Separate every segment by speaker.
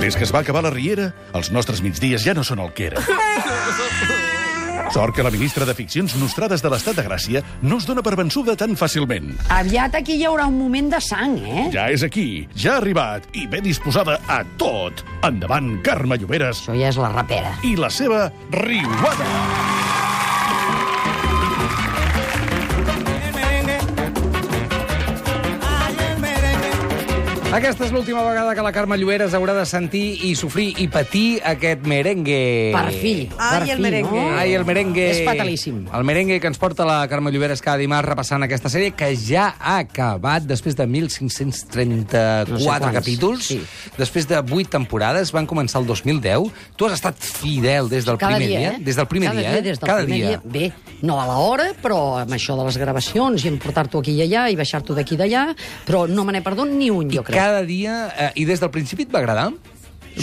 Speaker 1: Des que es va acabar la Riera, els nostres migdies ja no són el que eren. Sort que la ministra de Ficcions Nostrades de l'Estat de Gràcia no es dona per vençuda tan fàcilment.
Speaker 2: Aviat aquí hi haurà un moment de sang, eh?
Speaker 1: Ja és aquí, ja ha arribat i ben disposada a tot. Endavant, Carme Lloberes
Speaker 2: Això ja és la rapera.
Speaker 1: i la seva riuada.
Speaker 3: Aquesta és l'última vegada que la Carme Lloberes haurà de sentir i sofrir i patir aquest merengue. Eh,
Speaker 2: Per fi. Eh,
Speaker 4: Ai,
Speaker 2: per
Speaker 4: el
Speaker 2: fi,
Speaker 4: merengue.
Speaker 2: No?
Speaker 3: Ai, el merengue...
Speaker 2: És fatalíssim.
Speaker 3: El merengue que ens porta la Carme Lloberes cada dimarts repassant aquesta sèrie que ja ha acabat després de 1.534
Speaker 2: No sé quants,
Speaker 3: capítols,
Speaker 2: sí.
Speaker 3: després de 8 temporades, van començar el 2010. Tu has estat fidel des del
Speaker 2: Cada
Speaker 3: primer
Speaker 2: dia, eh?
Speaker 3: Des del primer
Speaker 2: Cada
Speaker 3: dia, eh?
Speaker 2: des del
Speaker 3: cada
Speaker 2: primer
Speaker 3: dia.
Speaker 2: Bé, no a l'hora, però amb això de les gravacions i en portar-t'ho aquí i allà i baixar-t'ho d'aquí i d'allà, però no me n'he perdut ni un, jo crec.
Speaker 3: Cada dia... Eh, I des del principi et va agradar?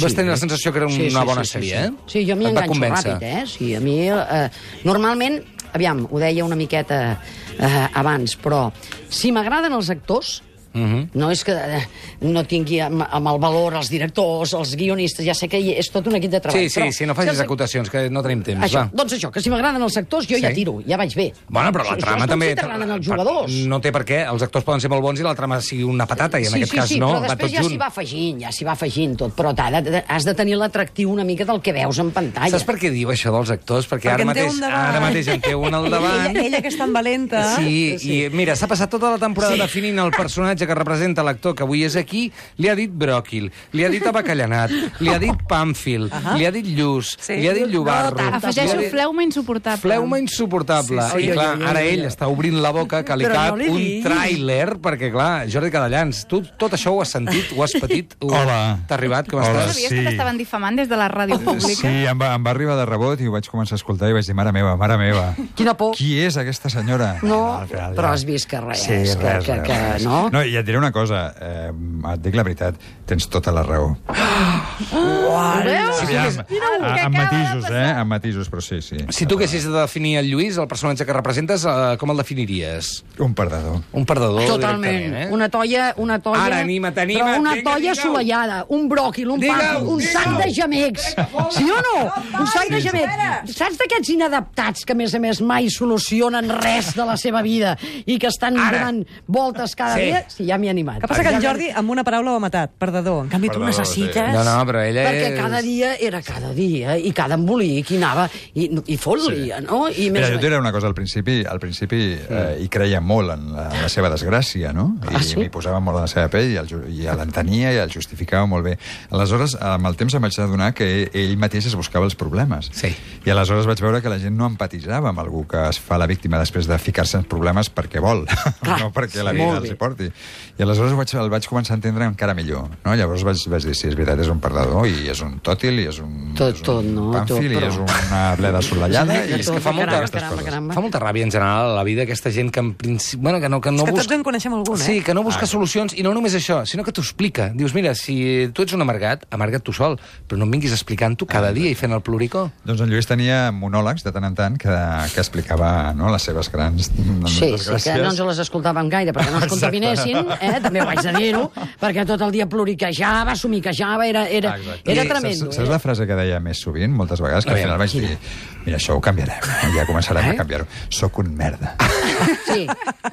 Speaker 3: Vas tenir la sensació que era una
Speaker 2: Sí, sí,
Speaker 3: bona
Speaker 2: sí, sí,
Speaker 3: sèrie,
Speaker 2: sí.
Speaker 3: eh?
Speaker 2: Sí, jo m'hi
Speaker 3: Et va
Speaker 2: enganxo
Speaker 3: convèncer.
Speaker 2: ràpid, eh? Sí, a mi... Eh, normalment, aviam, ho deia una miqueta eh, abans, però si m'agraden els actors,
Speaker 3: Mhm.
Speaker 2: No és que eh, no tingui amb, amb el valor els directors, els guionistes, ja sé que hi- és tot un equip de treball.
Speaker 3: Sí, sí,
Speaker 2: però,
Speaker 3: sí, no facis
Speaker 2: si els-
Speaker 3: acotacions, que no tenim temps,
Speaker 2: Això,
Speaker 3: va.
Speaker 2: doncs això, que si m'agraden els actors, jo
Speaker 3: Sí.
Speaker 2: ja tiro, ja vaig bé.
Speaker 3: Bueno, però la
Speaker 2: Això-
Speaker 3: trama
Speaker 2: això és com
Speaker 3: també...
Speaker 2: Si t'agraden els jugadors.
Speaker 3: No té per què. Els actors poden ser molt bons i la trama sigui una patata, i en
Speaker 2: sí,
Speaker 3: aquest
Speaker 2: sí,
Speaker 3: cas
Speaker 2: sí,
Speaker 3: no,
Speaker 2: però
Speaker 3: va
Speaker 2: després
Speaker 3: tot
Speaker 2: ja
Speaker 3: junt.
Speaker 2: s'hi va afegint, ja s'hi va afegint tot, però t'ha de, de- has de tenir l'atractiu una mica del que veus en pantalla.
Speaker 3: Saps per què diu això dels actors? Perquè,
Speaker 4: Perquè
Speaker 3: ara,
Speaker 4: en té
Speaker 3: mateix,
Speaker 4: un davant.
Speaker 3: ara mateix en té un al davant.
Speaker 4: Ella, ella que és tan valenta.
Speaker 3: Sí, sí, i mira, s'ha passat tota la temporada sí. definint el personatge que representa l'actor que avui és aquí, li ha dit bròquil, li ha dit abacallanat, li ha dit pàmfil, li ha dit lluç,
Speaker 4: Sí.
Speaker 3: li ha dit llobarro...
Speaker 4: No,
Speaker 3: li ha
Speaker 5: Afegeixo
Speaker 3: dit-
Speaker 5: fleuma insuportable.
Speaker 3: Fleuma insuportable.
Speaker 4: Sí, sí.
Speaker 3: I,
Speaker 4: Ai,
Speaker 3: clar,
Speaker 4: ai, ai,
Speaker 3: ara
Speaker 4: ai,
Speaker 3: ell està obrint la boca que li
Speaker 4: Però
Speaker 3: cap
Speaker 4: no li
Speaker 3: un
Speaker 4: diguis.
Speaker 3: tràiler, perquè, clar, Jordi Cadallans, tu tot això ho has sentit, ho has patit, ho...
Speaker 6: Hola.
Speaker 3: t'ha arribat, com
Speaker 6: Hola.
Speaker 3: estàs?
Speaker 5: Sabies
Speaker 6: Sí.
Speaker 5: que t'estaven difamant des de la ràdio pública?
Speaker 6: Sí, em va, em va arribar de rebot i ho vaig començar a escoltar i vaig dir, mare meva, mare meva,
Speaker 2: Quina por.
Speaker 6: qui és aquesta senyora?
Speaker 2: No,
Speaker 6: Al final,
Speaker 2: però
Speaker 6: ja.
Speaker 2: has vist que res,
Speaker 6: Ah, Sí,
Speaker 2: que-
Speaker 6: res,
Speaker 2: que-
Speaker 6: res,
Speaker 2: que
Speaker 6: res.
Speaker 2: no.
Speaker 6: No, i et diré una cosa, eh, et dic la veritat, tens tota la raó.
Speaker 2: Ah, Ho veus?
Speaker 6: Aviam, a- amb matisos, eh? Amb matisos, però sí, sí.
Speaker 3: Si tu haguessis de definir el Lluís, el personatge que representes, eh, com el definiries?
Speaker 6: Un perdedor.
Speaker 3: Un perdedor,
Speaker 2: Totalment.
Speaker 3: directament, eh?
Speaker 2: Una toia... Una toia
Speaker 3: Ara, anima't, anima't,
Speaker 2: Però una
Speaker 3: vinga,
Speaker 2: toia
Speaker 3: digue-ho.
Speaker 2: assolellada, un bròquil, un
Speaker 3: Digue-ho,
Speaker 2: pàmpil, un
Speaker 3: digue-ho.
Speaker 2: sac de gemecs. Sí o no? Un sac de gemecs. Saps d'aquests inadaptats que, a més a més, mai solucionen res de la seva vida i que estan donant voltes cada
Speaker 3: Sí.
Speaker 2: dia? Sí, ja m'hi he animat.
Speaker 4: Que passa que en
Speaker 2: Ja
Speaker 4: Jordi amb una paraula ho ha matat, perdedor. En canvi tu
Speaker 6: Perdedor,
Speaker 4: necessites...
Speaker 3: No, no, però ella
Speaker 2: Perquè
Speaker 3: és...
Speaker 2: cada dia era cada dia, i cada embolic, i anava, i, i fot-li, no? I
Speaker 6: Mira, jo
Speaker 2: més...
Speaker 6: et diré una cosa, al principi, al principi eh, hi creia molt en la, en la seva desgràcia, no? I
Speaker 2: Ah, sí?
Speaker 6: m'hi posava molt a la seva pell i el ju- i l'entenia i el justificava molt bé. Aleshores, amb el temps em vaig adonar que ell- ell mateix es buscava els problemes.
Speaker 3: Sí.
Speaker 6: I aleshores vaig veure que la gent no empatitzava amb algú que es fa la víctima després de ficar-se en problemes perquè vol,
Speaker 2: Clar,
Speaker 6: no perquè la
Speaker 2: sí,
Speaker 6: vida
Speaker 2: molt
Speaker 6: els
Speaker 2: bé.
Speaker 6: hi porti. I aleshores ho vaig, el vaig començar a entendre encara millor, no? Llavors vaig, vaig dir, sí, és veritat, és un perdedor i és un tòtil i és un,
Speaker 2: Tot,
Speaker 6: és un
Speaker 2: tot, no? Tot,
Speaker 6: pàmfil i
Speaker 2: però-
Speaker 6: és una bleda assolellada i
Speaker 3: és que fa molta-
Speaker 2: Caramba,
Speaker 6: aquestes
Speaker 2: caramba,
Speaker 6: coses.
Speaker 2: caramba.
Speaker 3: Fa molta ràbia en general a la vida aquesta gent que en principi... Bueno, que no, que no
Speaker 4: És que tots
Speaker 3: busca-
Speaker 4: en coneixem algun, eh?
Speaker 3: Sí, que no busca solucions, i no només això, sinó que t'ho explica. Dius, mira, si tu ets un amargat, amargat tu sol, però no em vinguis explicant-ho cada
Speaker 6: Ah,
Speaker 3: dia i fent el ploricó.
Speaker 6: Doncs en Lluís tenia monòlegs de tant en tant que, que explicava no, les seves grans
Speaker 2: Sí, sí,
Speaker 6: desgràcies.
Speaker 2: que no ens les escoltàvem gaire perquè no ens contaminessin, eh? també ho haig de dir-ho, perquè tot el dia ploriquejava, somiquejava, era, era, era
Speaker 6: I
Speaker 2: tremendo.
Speaker 6: Saps, saps la frase que deia més sovint, moltes vegades, que al
Speaker 3: Aviam,
Speaker 6: final vaig dir, mira, això ho canviarem, ja començarem
Speaker 3: Eh?
Speaker 6: a canviar-ho. Soc un merda. Eh,
Speaker 2: Era... Sí,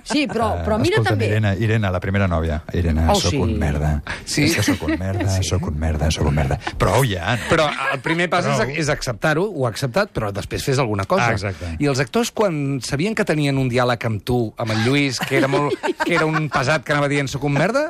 Speaker 2: sí Ah, però, però mira
Speaker 6: Escolta'm,
Speaker 2: també...
Speaker 6: Irene, Irene, la primera nòvia. Irene,
Speaker 2: Oh,
Speaker 6: soc
Speaker 2: sí.
Speaker 6: un merda.
Speaker 3: Sí.
Speaker 6: És que soc un merda, soc un merda, soc un merda. Prou ja, no?
Speaker 3: Però el primer pas és, és acceptar-ho, ho ha acceptat, però després fes alguna cosa.
Speaker 6: Ah, exacte.
Speaker 3: I els actors, quan sabien que tenien un diàleg amb tu, amb en Lluís, que era, molt, que era un pesat que anava dient soc un merda,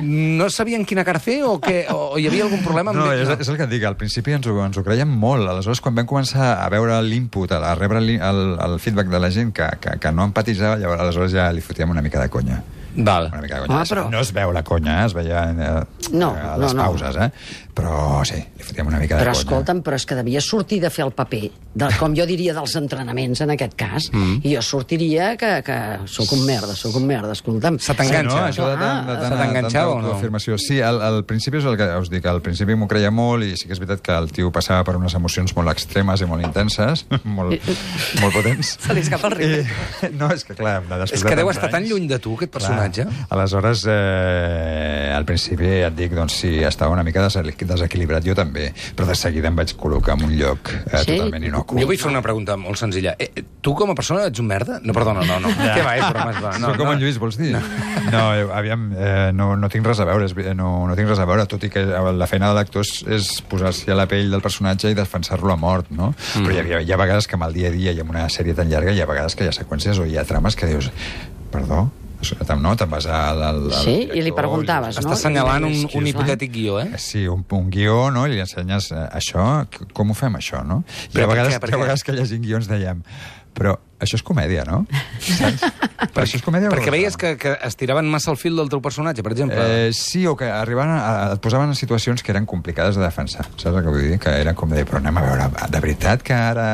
Speaker 3: no sabien quina cara fer o, que, o hi havia algun problema amb
Speaker 6: No,
Speaker 3: ell?
Speaker 6: és, és el que et dic, al principi ens ho, ens ho creiem molt. Aleshores, quan vam començar a veure l'input, a, a rebre l'in- el, el feedback de la gent que, que, que no empatitzava, llavors aleshores ja li fotíem una mica de conya.
Speaker 3: Val.
Speaker 6: Una mica de conya.
Speaker 2: Ah, però-
Speaker 6: No es veu la conya, eh? es veia eh,
Speaker 2: No,
Speaker 6: a les
Speaker 2: no, no.
Speaker 6: pauses, eh? Però sí, li fotíem una mica de
Speaker 2: Però
Speaker 6: eh, conya.
Speaker 2: escolta'm, però és que devia sortir de fer el paper, de, com jo diria, dels entrenaments en aquest cas, mm. i jo sortiria que, que sóc un merda, sóc un merda, escolta'm.
Speaker 3: Se t'enganxa.
Speaker 6: Sí, no? Això de tant, de
Speaker 2: Ah,
Speaker 6: tant,
Speaker 3: se t'enganxava o no?
Speaker 6: autoafirmació. Sí, al, al principi és el que us dic, al principi m'ho creia molt i sí que és veritat que el tio passava per unes emocions molt extremes i molt intenses, molt, molt potents.
Speaker 4: Se li escapa el riure.
Speaker 6: Eh, I, no, és que clar, la després
Speaker 3: És que
Speaker 6: de
Speaker 3: deu
Speaker 6: tants
Speaker 3: estar tan
Speaker 6: anys-
Speaker 3: lluny de tu, aquest personatge.
Speaker 6: Aleshores, eh, al principi et dic, doncs sí, estava una mica des- desequilibrat, jo també, però de seguida em vaig col·locar en un lloc eh,
Speaker 2: Sí?
Speaker 6: totalment inocu.
Speaker 3: Jo vull fer una pregunta molt senzilla. Eh, eh, tu com a persona ets un merda? No, perdona, no, no. Què va, eh, bromes, va.
Speaker 6: No,
Speaker 3: No,
Speaker 6: com
Speaker 3: no.
Speaker 6: en Lluís, vols dir? No, no jo, aviam, eh, no, no tinc res a veure, és ve- no, no tinc res a veure, tot i que la feina de l'actor és, és posar-s'hi a la pell del personatge i defensar-lo a mort, no? Mm. Però hi ha, hi ha vegades que amb el dia a dia i amb una sèrie tan llarga hi ha vegades que hi ha seqüències o hi ha trames que dius, perdó, no? Te'n vas al, al, al
Speaker 2: Sí, i li
Speaker 6: director,
Speaker 2: preguntaves,
Speaker 3: Està assenyalant un, un
Speaker 2: Clar.
Speaker 3: hipotètic guió, eh?
Speaker 6: Sí, un, un guió, no?, i li ensenyes eh, això, c- com ho fem, això, no? I
Speaker 3: Però per
Speaker 6: a vegades,
Speaker 3: què, per
Speaker 6: hi ha
Speaker 3: què?
Speaker 6: vegades que llegint guions dèiem, però això és comèdia, no? Saps? Però això és comèdia o
Speaker 3: Perquè
Speaker 6: no?
Speaker 3: veies que, que estiraven massa el fil del teu personatge, per exemple.
Speaker 6: Eh, sí, o que arribaven a, a, et posaven en situacions que eren complicades de defensar. Saps el que vull dir? Que eren com de dir, però anem a veure, de veritat que ara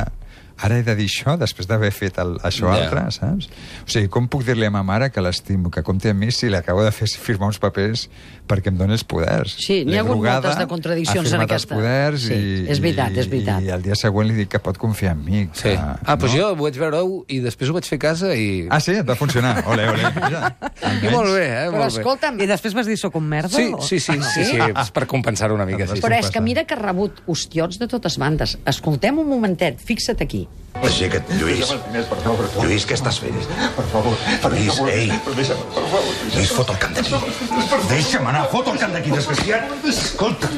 Speaker 6: ara he de dir això després d'haver fet el, això
Speaker 3: Ja.
Speaker 6: yeah. altre, saps? O sigui, com puc dir-li a ma mare que l'estimo, que compti amb mi si li acabo de fer firmar uns papers perquè em doni els poders?
Speaker 2: Sí, n'hi ha
Speaker 6: L'he
Speaker 2: hagut
Speaker 6: drogada,
Speaker 2: moltes de contradiccions
Speaker 6: ha firmat
Speaker 2: en aquesta.
Speaker 6: Els poders
Speaker 2: Sí,
Speaker 6: i,
Speaker 2: és veritat,
Speaker 6: i,
Speaker 2: és veritat.
Speaker 6: I el dia següent li dic que pot confiar en mi.
Speaker 3: Sí.
Speaker 6: Que,
Speaker 3: Ah, doncs jo ho vaig veure i després ho vaig fer a casa i...
Speaker 6: Ah, sí? Et va funcionar? Ole, ole. Mira,
Speaker 3: I molt bé, eh?
Speaker 2: Però
Speaker 3: molt bé.
Speaker 2: escolta'm,
Speaker 4: I després vas dir, sóc un merda?
Speaker 3: Sí,
Speaker 4: o-
Speaker 3: sí, sí, sí, sí, és per compensar una mica. Sí, sí.
Speaker 2: però és
Speaker 6: passa.
Speaker 2: que mira que ha rebut ostiots de totes bandes. Escoltem un momentet, fixa't aquí.
Speaker 7: Així que, Lluís, Lluís, què estàs fent? Per favor, Lluís, ei. Lluís, fot el camp d'aquí. Deixa'm anar, fot el camp d'aquí, desgraciat. Escolta,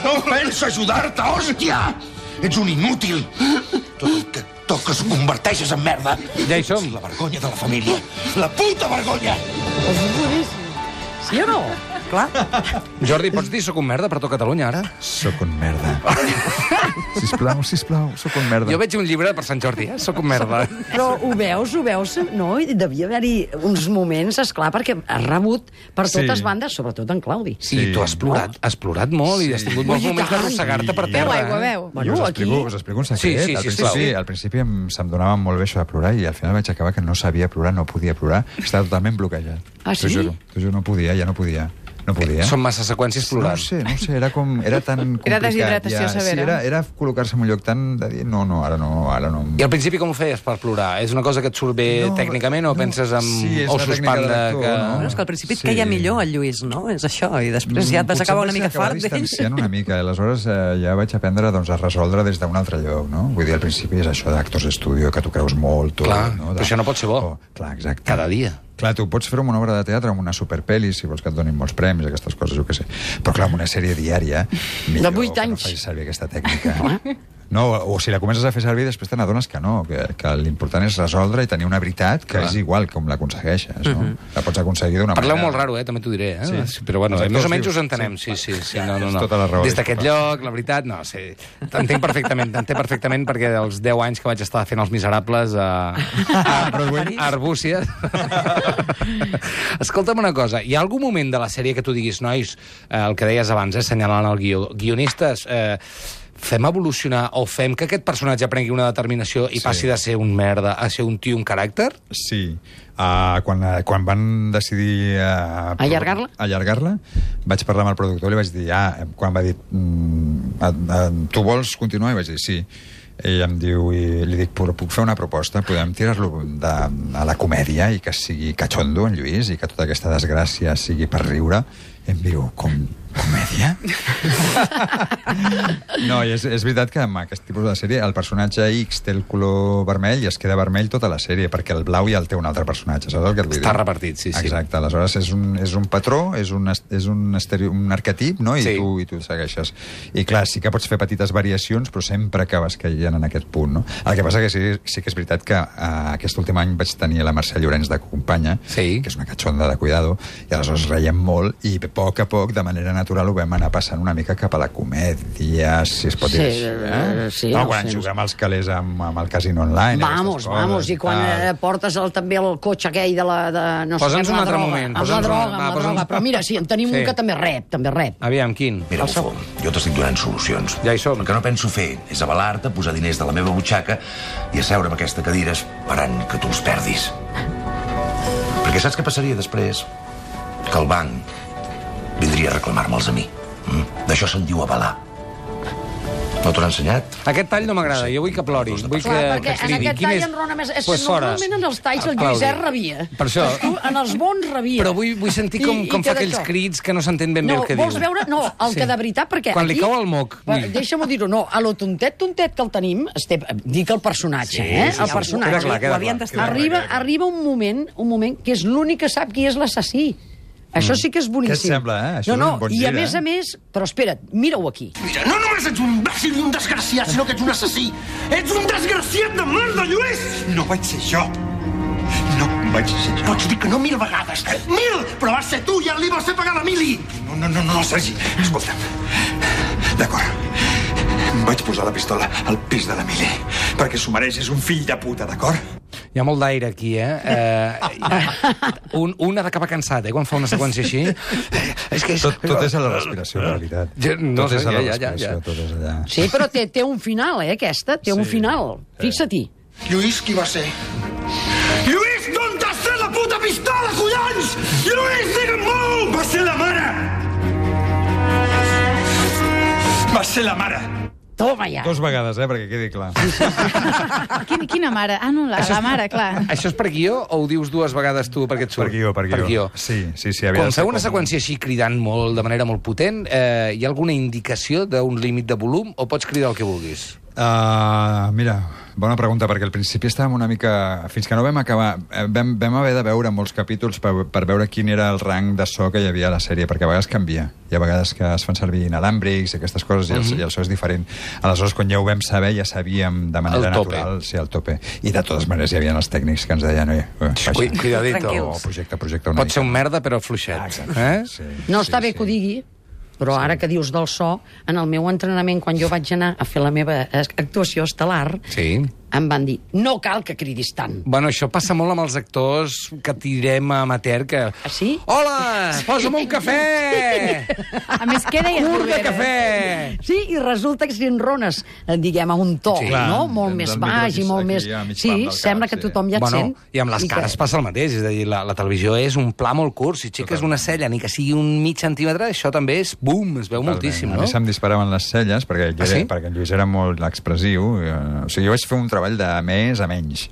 Speaker 7: no penso ajudar-te, hòstia! Ets un inútil. Tot el que toques ho converteixes en merda.
Speaker 3: Ja hi som.
Speaker 7: Ets La vergonya de la família. La puta vergonya!
Speaker 2: Sí o no?
Speaker 4: Clar.
Speaker 3: Jordi, pots dir soc un merda per tot Catalunya, ara?
Speaker 6: Sóc un merda. Sisplau, sisplau, sóc un merda.
Speaker 3: Jo veig un llibre per Sant Jordi, eh? Soc un merda.
Speaker 2: Però ho veus, ho veus? No, I devia haver-hi uns moments, és clar, perquè ha rebut per
Speaker 6: Sí.
Speaker 2: totes bandes, sobretot en Claudi.
Speaker 3: Sí, sí. tu has plorat, has plorat molt sí. i has tingut molts
Speaker 2: Ui, i
Speaker 3: moments
Speaker 2: tant.
Speaker 3: d'arrossegar-te per terra.
Speaker 5: Veu aigua,
Speaker 3: eh?
Speaker 5: veu.
Speaker 6: Bueno, us, explico,
Speaker 2: aquí-
Speaker 6: us explico un secret.
Speaker 3: Sí, sí,
Speaker 6: al
Speaker 3: sí,
Speaker 6: principi,
Speaker 3: sisplau.
Speaker 6: al principi em, se'm donava molt bé això de plorar i al final vaig acabar que no sabia plorar, no podia plorar. Estava totalment bloquejat.
Speaker 2: Ah, sí?
Speaker 6: T'ho juro, t'ho juro, no podia, ja no podia. No podia.
Speaker 3: Eh, Són massa seqüències
Speaker 6: No ho
Speaker 3: plorant.
Speaker 6: sé, no ho sé, era com... Era tan complicat.
Speaker 5: deshidratació
Speaker 6: ja. Sí,
Speaker 5: severa.
Speaker 6: era, era col·locar-se en un lloc tan de dir no, no, ara no, ara no.
Speaker 3: I al principi com ho feies per plorar? És una cosa que et surt bé
Speaker 6: No,
Speaker 3: tècnicament o
Speaker 6: no.
Speaker 3: penses en...
Speaker 6: Sí, és
Speaker 3: o
Speaker 6: una tècnica
Speaker 3: suspendre
Speaker 6: de l'actor,
Speaker 3: que...
Speaker 6: no?
Speaker 4: Bueno, és que al principi et
Speaker 6: Sí.
Speaker 4: caia millor el Lluís, no? És això, i després ja et vas
Speaker 6: Potser
Speaker 4: acabar
Speaker 6: em
Speaker 4: una mica
Speaker 6: acabar
Speaker 4: fart eh? d'ell.
Speaker 6: distanciant una mica. Aleshores eh, ja vaig aprendre doncs, a resoldre des d'un altre lloc, no? Vull dir, al principi és això d'actors d'estudio, que tu creus molt, tot,
Speaker 3: Clar,
Speaker 6: no? Oh,
Speaker 3: però això no pot ser bo.
Speaker 6: clar, exacte.
Speaker 3: Cada dia.
Speaker 6: Clar, tu pots fer amb una obra de teatre, amb una superpeli, si vols que et donin molts premis, aquestes coses, jo què sé. Però clar, amb una sèrie diària, millor
Speaker 2: vuit
Speaker 6: que no
Speaker 2: anys.
Speaker 6: facis servir aquesta tècnica. No, o, o si la comences a fer servir, després te n'adones que no, que, que l'important és resoldre i tenir una veritat que
Speaker 3: Clar.
Speaker 6: és igual com l'aconsegueixes, no?
Speaker 4: Mhm.
Speaker 6: La pots aconseguir d'una manera...
Speaker 3: Parleu molt raro, eh? també t'ho diré. Eh?
Speaker 6: Sí.
Speaker 3: Però bueno,
Speaker 6: Els actors
Speaker 3: més o menys
Speaker 6: dius.
Speaker 3: us entenem. Sí, sí, sí, no, no,
Speaker 6: Tens
Speaker 3: no.
Speaker 6: tota la raó,
Speaker 3: Des d'aquest
Speaker 6: disculpa.
Speaker 3: lloc, la veritat, no, sí. T'entenc perfectament, t'entenc perfectament perquè els 10 anys que vaig estar fent Els Miserables a, a,
Speaker 6: Broadway.
Speaker 3: a Arbúcies... Escolta'm una cosa, hi ha algun moment de la sèrie que tu diguis, nois, eh, el que deies abans, eh, assenyalant el guió, guionistes... Eh, fem evolucionar o fem que aquest personatge prengui una determinació i
Speaker 6: Sí.
Speaker 3: passi de ser un merda a ser un tio, un caràcter?
Speaker 6: Sí. Uh, quan, uh, quan van decidir... Uh,
Speaker 2: Allargar-la?
Speaker 6: Allargar-la, vaig parlar amb el productor i li vaig dir... Ah, quan va dir... Mm, a- a- tu vols continuar? I vaig dir sí. I em diu, i li dic, però puc fer una proposta? Podem tirar-lo de- a la comèdia i que sigui cachondo, en Lluís, i que tota aquesta desgràcia sigui per riure? I em diu, com, comèdia? No, i és, és veritat que amb aquest tipus de sèrie el personatge X té el color vermell i es queda vermell tota la sèrie, perquè el blau ja el té un altre personatge, saps el que et vull dir?
Speaker 3: Està repartit, sí, sí.
Speaker 6: Exacte, aleshores és un, és un patró, és un, est- és un, estereo, un arquetip, no? I,
Speaker 3: Sí.
Speaker 6: tu, I tu el segueixes. I clar, sí que pots fer petites variacions, però sempre acabes caient en aquest punt, no? El que passa que sí, sí que és veritat que eh, aquest últim any vaig tenir la Mercè Llorenç de companya,
Speaker 3: Sí.
Speaker 6: que és una catxonda de cuidado, i aleshores reiem molt, i a poc a poc, de manera natural, ho vam anar passant una mica cap a la comèdia, si es pot
Speaker 2: Sí,
Speaker 6: dir així,
Speaker 2: eh, sí,
Speaker 6: no,
Speaker 2: no
Speaker 6: quan
Speaker 2: sé, no
Speaker 6: juguem als calés amb, amb el casino online... aquestes
Speaker 2: Vamos,
Speaker 6: coses
Speaker 2: vamos, i quan
Speaker 6: tal.
Speaker 2: eh, portes el, també el cotxe aquell de la... De, no sé
Speaker 3: Posa'ns
Speaker 2: què, amb
Speaker 3: un
Speaker 2: la
Speaker 3: altre
Speaker 2: droga,
Speaker 3: moment,
Speaker 2: Amb la
Speaker 3: posa'ns un-
Speaker 2: droga,
Speaker 3: va,
Speaker 2: amb la
Speaker 3: posa'ns-
Speaker 2: droga. Però mira, sí, en tenim
Speaker 3: Sí.
Speaker 2: un que també rep, també rep.
Speaker 3: Aviam, quin?
Speaker 7: Mira, Bufó, jo t'estic donant solucions.
Speaker 3: Ja hi som.
Speaker 7: El que no penso fer és avalar-te, posar diners de la meva butxaca i asseure amb aquesta cadira esperant que tu els perdis. Perquè saps què passaria després? Que el banc vindria a reclamar-me'ls a mi. Mm? D'això se'n diu avalar. No t'ho han ensenyat?
Speaker 3: Aquest tall no m'agrada, jo vull que plori. Vull que,
Speaker 2: Clar, perquè
Speaker 3: que
Speaker 2: en
Speaker 3: cridi.
Speaker 2: aquest
Speaker 3: Quin
Speaker 2: tall
Speaker 3: és?
Speaker 2: en Rona més... És,
Speaker 3: Pues fora.
Speaker 2: normalment en els talls el
Speaker 3: Claudi.
Speaker 2: Lluís R rebia.
Speaker 3: Per això.
Speaker 2: Però Tu, en els bons rebia.
Speaker 3: Però vull, vull sentir com,
Speaker 2: I- i
Speaker 3: com fa
Speaker 2: té
Speaker 3: aquells
Speaker 2: d'això.
Speaker 3: crits que no s'entén ben bé
Speaker 2: no,
Speaker 3: el que
Speaker 2: vols
Speaker 3: diu.
Speaker 2: veure? No, el
Speaker 3: Sí.
Speaker 2: que de veritat, perquè...
Speaker 3: Quan li
Speaker 2: aquí,
Speaker 3: cau el moc.
Speaker 2: Va,
Speaker 3: Ui.
Speaker 2: Deixa-m'ho dir-ho, no, a lo tontet, tontet que el tenim, Esteve, dic el personatge,
Speaker 3: Sí,
Speaker 2: eh?
Speaker 3: sí,
Speaker 2: el
Speaker 3: sí,
Speaker 2: personatge.
Speaker 3: queda clar, queda
Speaker 4: Ah, Ho havien
Speaker 3: clar,
Speaker 4: d'estar.
Speaker 2: arriba, arriba un moment, un moment que és l'únic que sap qui és l'assassí. Això sí que és boníssim.
Speaker 6: Què et sembla, eh?
Speaker 2: no,
Speaker 6: Això és
Speaker 2: no,
Speaker 6: un bon
Speaker 2: i
Speaker 6: gir,
Speaker 2: a més
Speaker 6: eh?
Speaker 2: a més... Però espera't, mira-ho aquí.
Speaker 8: Mira, no només ets un imbècil i un desgraciat, sinó que ets un assassí. Ets un desgraciat de merda, Lluís!
Speaker 7: No vaig ser jo. No vaig ser jo.
Speaker 8: Pots dir que no mil vegades. eh? Mil! Però vas ser tu i li vas fer pagar la mili.
Speaker 7: No, no, no, no, no Sergi, escolta'm. D'acord. Em vaig posar la pistola al pis de l'Emili, perquè s'ho mereix, és un fill de puta, d'acord?
Speaker 3: Hi ha molt d'aire aquí, eh? eh un, un ha d'acabar cansat, eh, quan fa una seqüència així. és que és...
Speaker 6: Tot, tot és a la respiració, en realitat.
Speaker 3: Jo- no
Speaker 6: tot
Speaker 3: sé,
Speaker 6: és a la
Speaker 3: ja, ja, ja,
Speaker 6: respiració,
Speaker 3: ja.
Speaker 6: tot és allà.
Speaker 2: Sí, però té, té un final, eh, aquesta? Té sí. un final. Fixa-t'hi.
Speaker 8: Lluís, qui va ser? Lluís, d'on t'has tret la puta pistola, collons? Lluís, digue'm-ho! Va ser la mare!
Speaker 7: Va ser la mare.
Speaker 2: Toma ja.
Speaker 6: Dos vegades, eh, perquè quedi clar.
Speaker 5: Quina, quina mare? Ah, no, la, la mare, clar.
Speaker 3: Això és per guió o ho dius dues vegades tu perquè et surt?
Speaker 6: Per guió, per guió.
Speaker 3: Per guió.
Speaker 6: Sí, sí, sí. havia
Speaker 3: Quan
Speaker 6: de ser
Speaker 3: feu una seqüència així cridant molt, de manera molt potent, eh, hi ha alguna indicació d'un límit de volum o pots cridar el que vulguis?
Speaker 6: Uh, mira, bona pregunta, perquè al principi estàvem una mica... Fins que no vam acabar... eh, Vam, vam haver de veure molts capítols per, per veure quin era el rang de so que hi havia a la sèrie, perquè a vegades canvia. Hi ha vegades que es fan servir inalàmbrics i aquestes coses, i el,
Speaker 3: Mhm.
Speaker 6: i el so és diferent. Aleshores, quan ja ho vam saber, ja sabíem de manera
Speaker 3: El tope.
Speaker 6: natural si sí, al tope. I de totes maneres hi havia els tècnics que ens deien... Oi, baixa,
Speaker 3: Ui,
Speaker 6: o
Speaker 3: cuidadito.
Speaker 4: Tranquils.
Speaker 6: projecta, projecta una
Speaker 3: Pot ser un merda, però fluixet. Eh?
Speaker 6: Sí,
Speaker 2: No
Speaker 6: sí,
Speaker 2: està bé
Speaker 6: sí.
Speaker 2: que ho digui, però ara que dius del so, en el meu entrenament, quan jo vaig anar a fer la meva eh, actuació estel·lar,
Speaker 3: Sí.
Speaker 2: em van dir, no cal que cridis tant.
Speaker 3: Bueno, això passa molt amb els actors que tirem a amateur, que...
Speaker 2: Ah, sí?
Speaker 3: Hola, posa'm un cafè!
Speaker 5: A més, què deia
Speaker 3: Cur de
Speaker 5: Bruguera?
Speaker 3: cafè!
Speaker 2: Sí, i resulta que si enrones, eh, diguem, a un to,
Speaker 3: Sí,
Speaker 2: sí,
Speaker 3: clar,
Speaker 2: no? molt
Speaker 6: del-
Speaker 2: més
Speaker 6: del
Speaker 2: baix i
Speaker 6: micro
Speaker 2: molt
Speaker 6: aquí
Speaker 2: més...
Speaker 6: a mig
Speaker 2: Sí,
Speaker 6: pam del
Speaker 2: sembla
Speaker 6: cap,
Speaker 2: que
Speaker 6: sí.
Speaker 2: tothom ja et
Speaker 3: bueno,
Speaker 2: sent.
Speaker 3: I amb les
Speaker 2: que-
Speaker 3: cares passa el mateix, és a dir, la, la televisió és un pla molt curt, si aixeques una cella, ni que sigui un mig centímetre, això també és bum, es veu moltíssim,
Speaker 6: A
Speaker 3: no?
Speaker 6: mi se'm disparaven les celles perquè, jo
Speaker 3: Ah,
Speaker 6: era,
Speaker 3: sí?
Speaker 6: perquè en Lluís era molt expressiu. eh, O sigui, jo vaig fer un treball de més a menys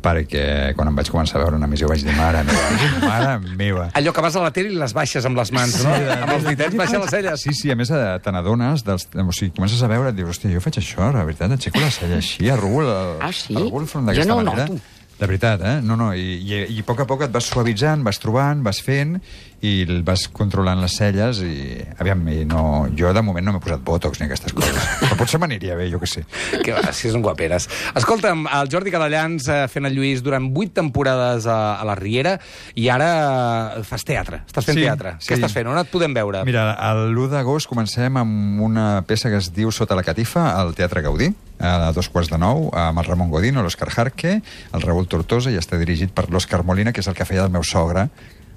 Speaker 6: perquè quan em vaig començar a veure una missió vaig dir, mare meva, mare meva.
Speaker 3: Allò que vas a la tele i les baixes amb les mans, no? amb els ditets baixes les celles.
Speaker 6: Sí, sí, a més eh, te n'adones, dels- o sigui, comences a veure, et dius, hòstia, jo faig això, la veritat, aixeco la cella així, arrugo el,
Speaker 2: Ah, sí?
Speaker 6: arrugo el front
Speaker 2: Jo
Speaker 6: d'aquesta
Speaker 2: no ho
Speaker 6: manera.
Speaker 2: noto.
Speaker 6: De veritat, eh? No, no, i, i, i a poc a poc et vas suavitzant, vas trobant, vas fent i el vas controlant les celles i, aviam, i no, jo de moment no m'he posat botox ni aquestes coses. Però potser m'aniria bé, jo que sé.
Speaker 3: Que va, si són guaperes. Escolta'm, el Jordi Cadallans eh, fent el Lluís durant vuit temporades a, a la Riera i ara eh, fas teatre. Estàs fent
Speaker 6: Sí,
Speaker 3: teatre.
Speaker 6: sí.
Speaker 3: Què estàs fent? On et podem veure?
Speaker 6: Mira, l'1 d'agost comencem amb una peça que es diu Sota la catifa al Teatre Gaudí, a dos quarts de nou, amb el Ramon Godino, l'Òscar Jarque, el Raül Tortosa, i està dirigit per l'Òscar Molina, que és el que feia el meu sogre,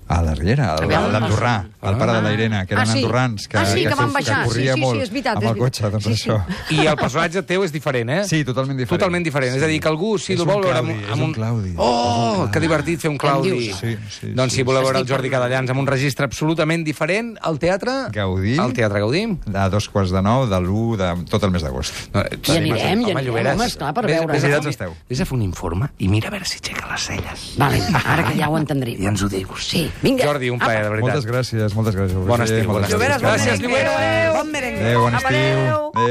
Speaker 6: a la Riera, el-
Speaker 2: veure,
Speaker 6: l'andorrà, el pare de la Irene, que eren
Speaker 2: Ah, sí.
Speaker 6: andorrans, que,
Speaker 2: Ah, sí, que van
Speaker 6: que
Speaker 2: baixar. Sí,
Speaker 6: corria
Speaker 2: sí, sí,
Speaker 6: molt
Speaker 2: és veritat,
Speaker 6: amb
Speaker 2: és
Speaker 6: el cotxe, doncs
Speaker 2: veritat. Sí, sí.
Speaker 6: això.
Speaker 3: I el personatge teu és diferent, eh?
Speaker 6: Sí, totalment diferent.
Speaker 3: Totalment diferent.
Speaker 6: Sí.
Speaker 3: És a dir, que algú, si
Speaker 6: És
Speaker 3: el
Speaker 6: un
Speaker 3: vol veure
Speaker 6: Claudi,
Speaker 3: amb,
Speaker 6: és
Speaker 3: amb
Speaker 6: un Claudi.
Speaker 3: Oh, que divertit fer un Claudi.
Speaker 2: dius?
Speaker 6: Sí, sí,
Speaker 3: doncs
Speaker 6: sí.
Speaker 3: si voleu veure el Jordi Cadallans amb un registre absolutament diferent, al teatre...
Speaker 6: Gaudí.
Speaker 3: Al teatre Gaudí.
Speaker 6: A dos quarts de nou, de l'1 de tot el mes d'agost.
Speaker 3: No,
Speaker 2: Hi anirem, hi anirem,
Speaker 3: Doncs Lloberes,
Speaker 2: home, esclar, per
Speaker 3: vés-
Speaker 2: veure.
Speaker 3: Vés, a fer-
Speaker 6: Convidats esteu.
Speaker 3: vés a fer un informe i mira a veure si aixeca les celles.
Speaker 2: Vale, ara que ja ho entendrem.
Speaker 3: I ens ho dius.
Speaker 2: Sí, vinga.
Speaker 3: Jordi, un plaer, de veritat.
Speaker 6: Moltes gràcies, moltes gràcies.
Speaker 3: Bon estiu,
Speaker 6: Moltes
Speaker 3: bon estiu.
Speaker 6: gràcies.
Speaker 3: Gràcies, Lluís.
Speaker 6: Adéu, bon estiu. Adéu.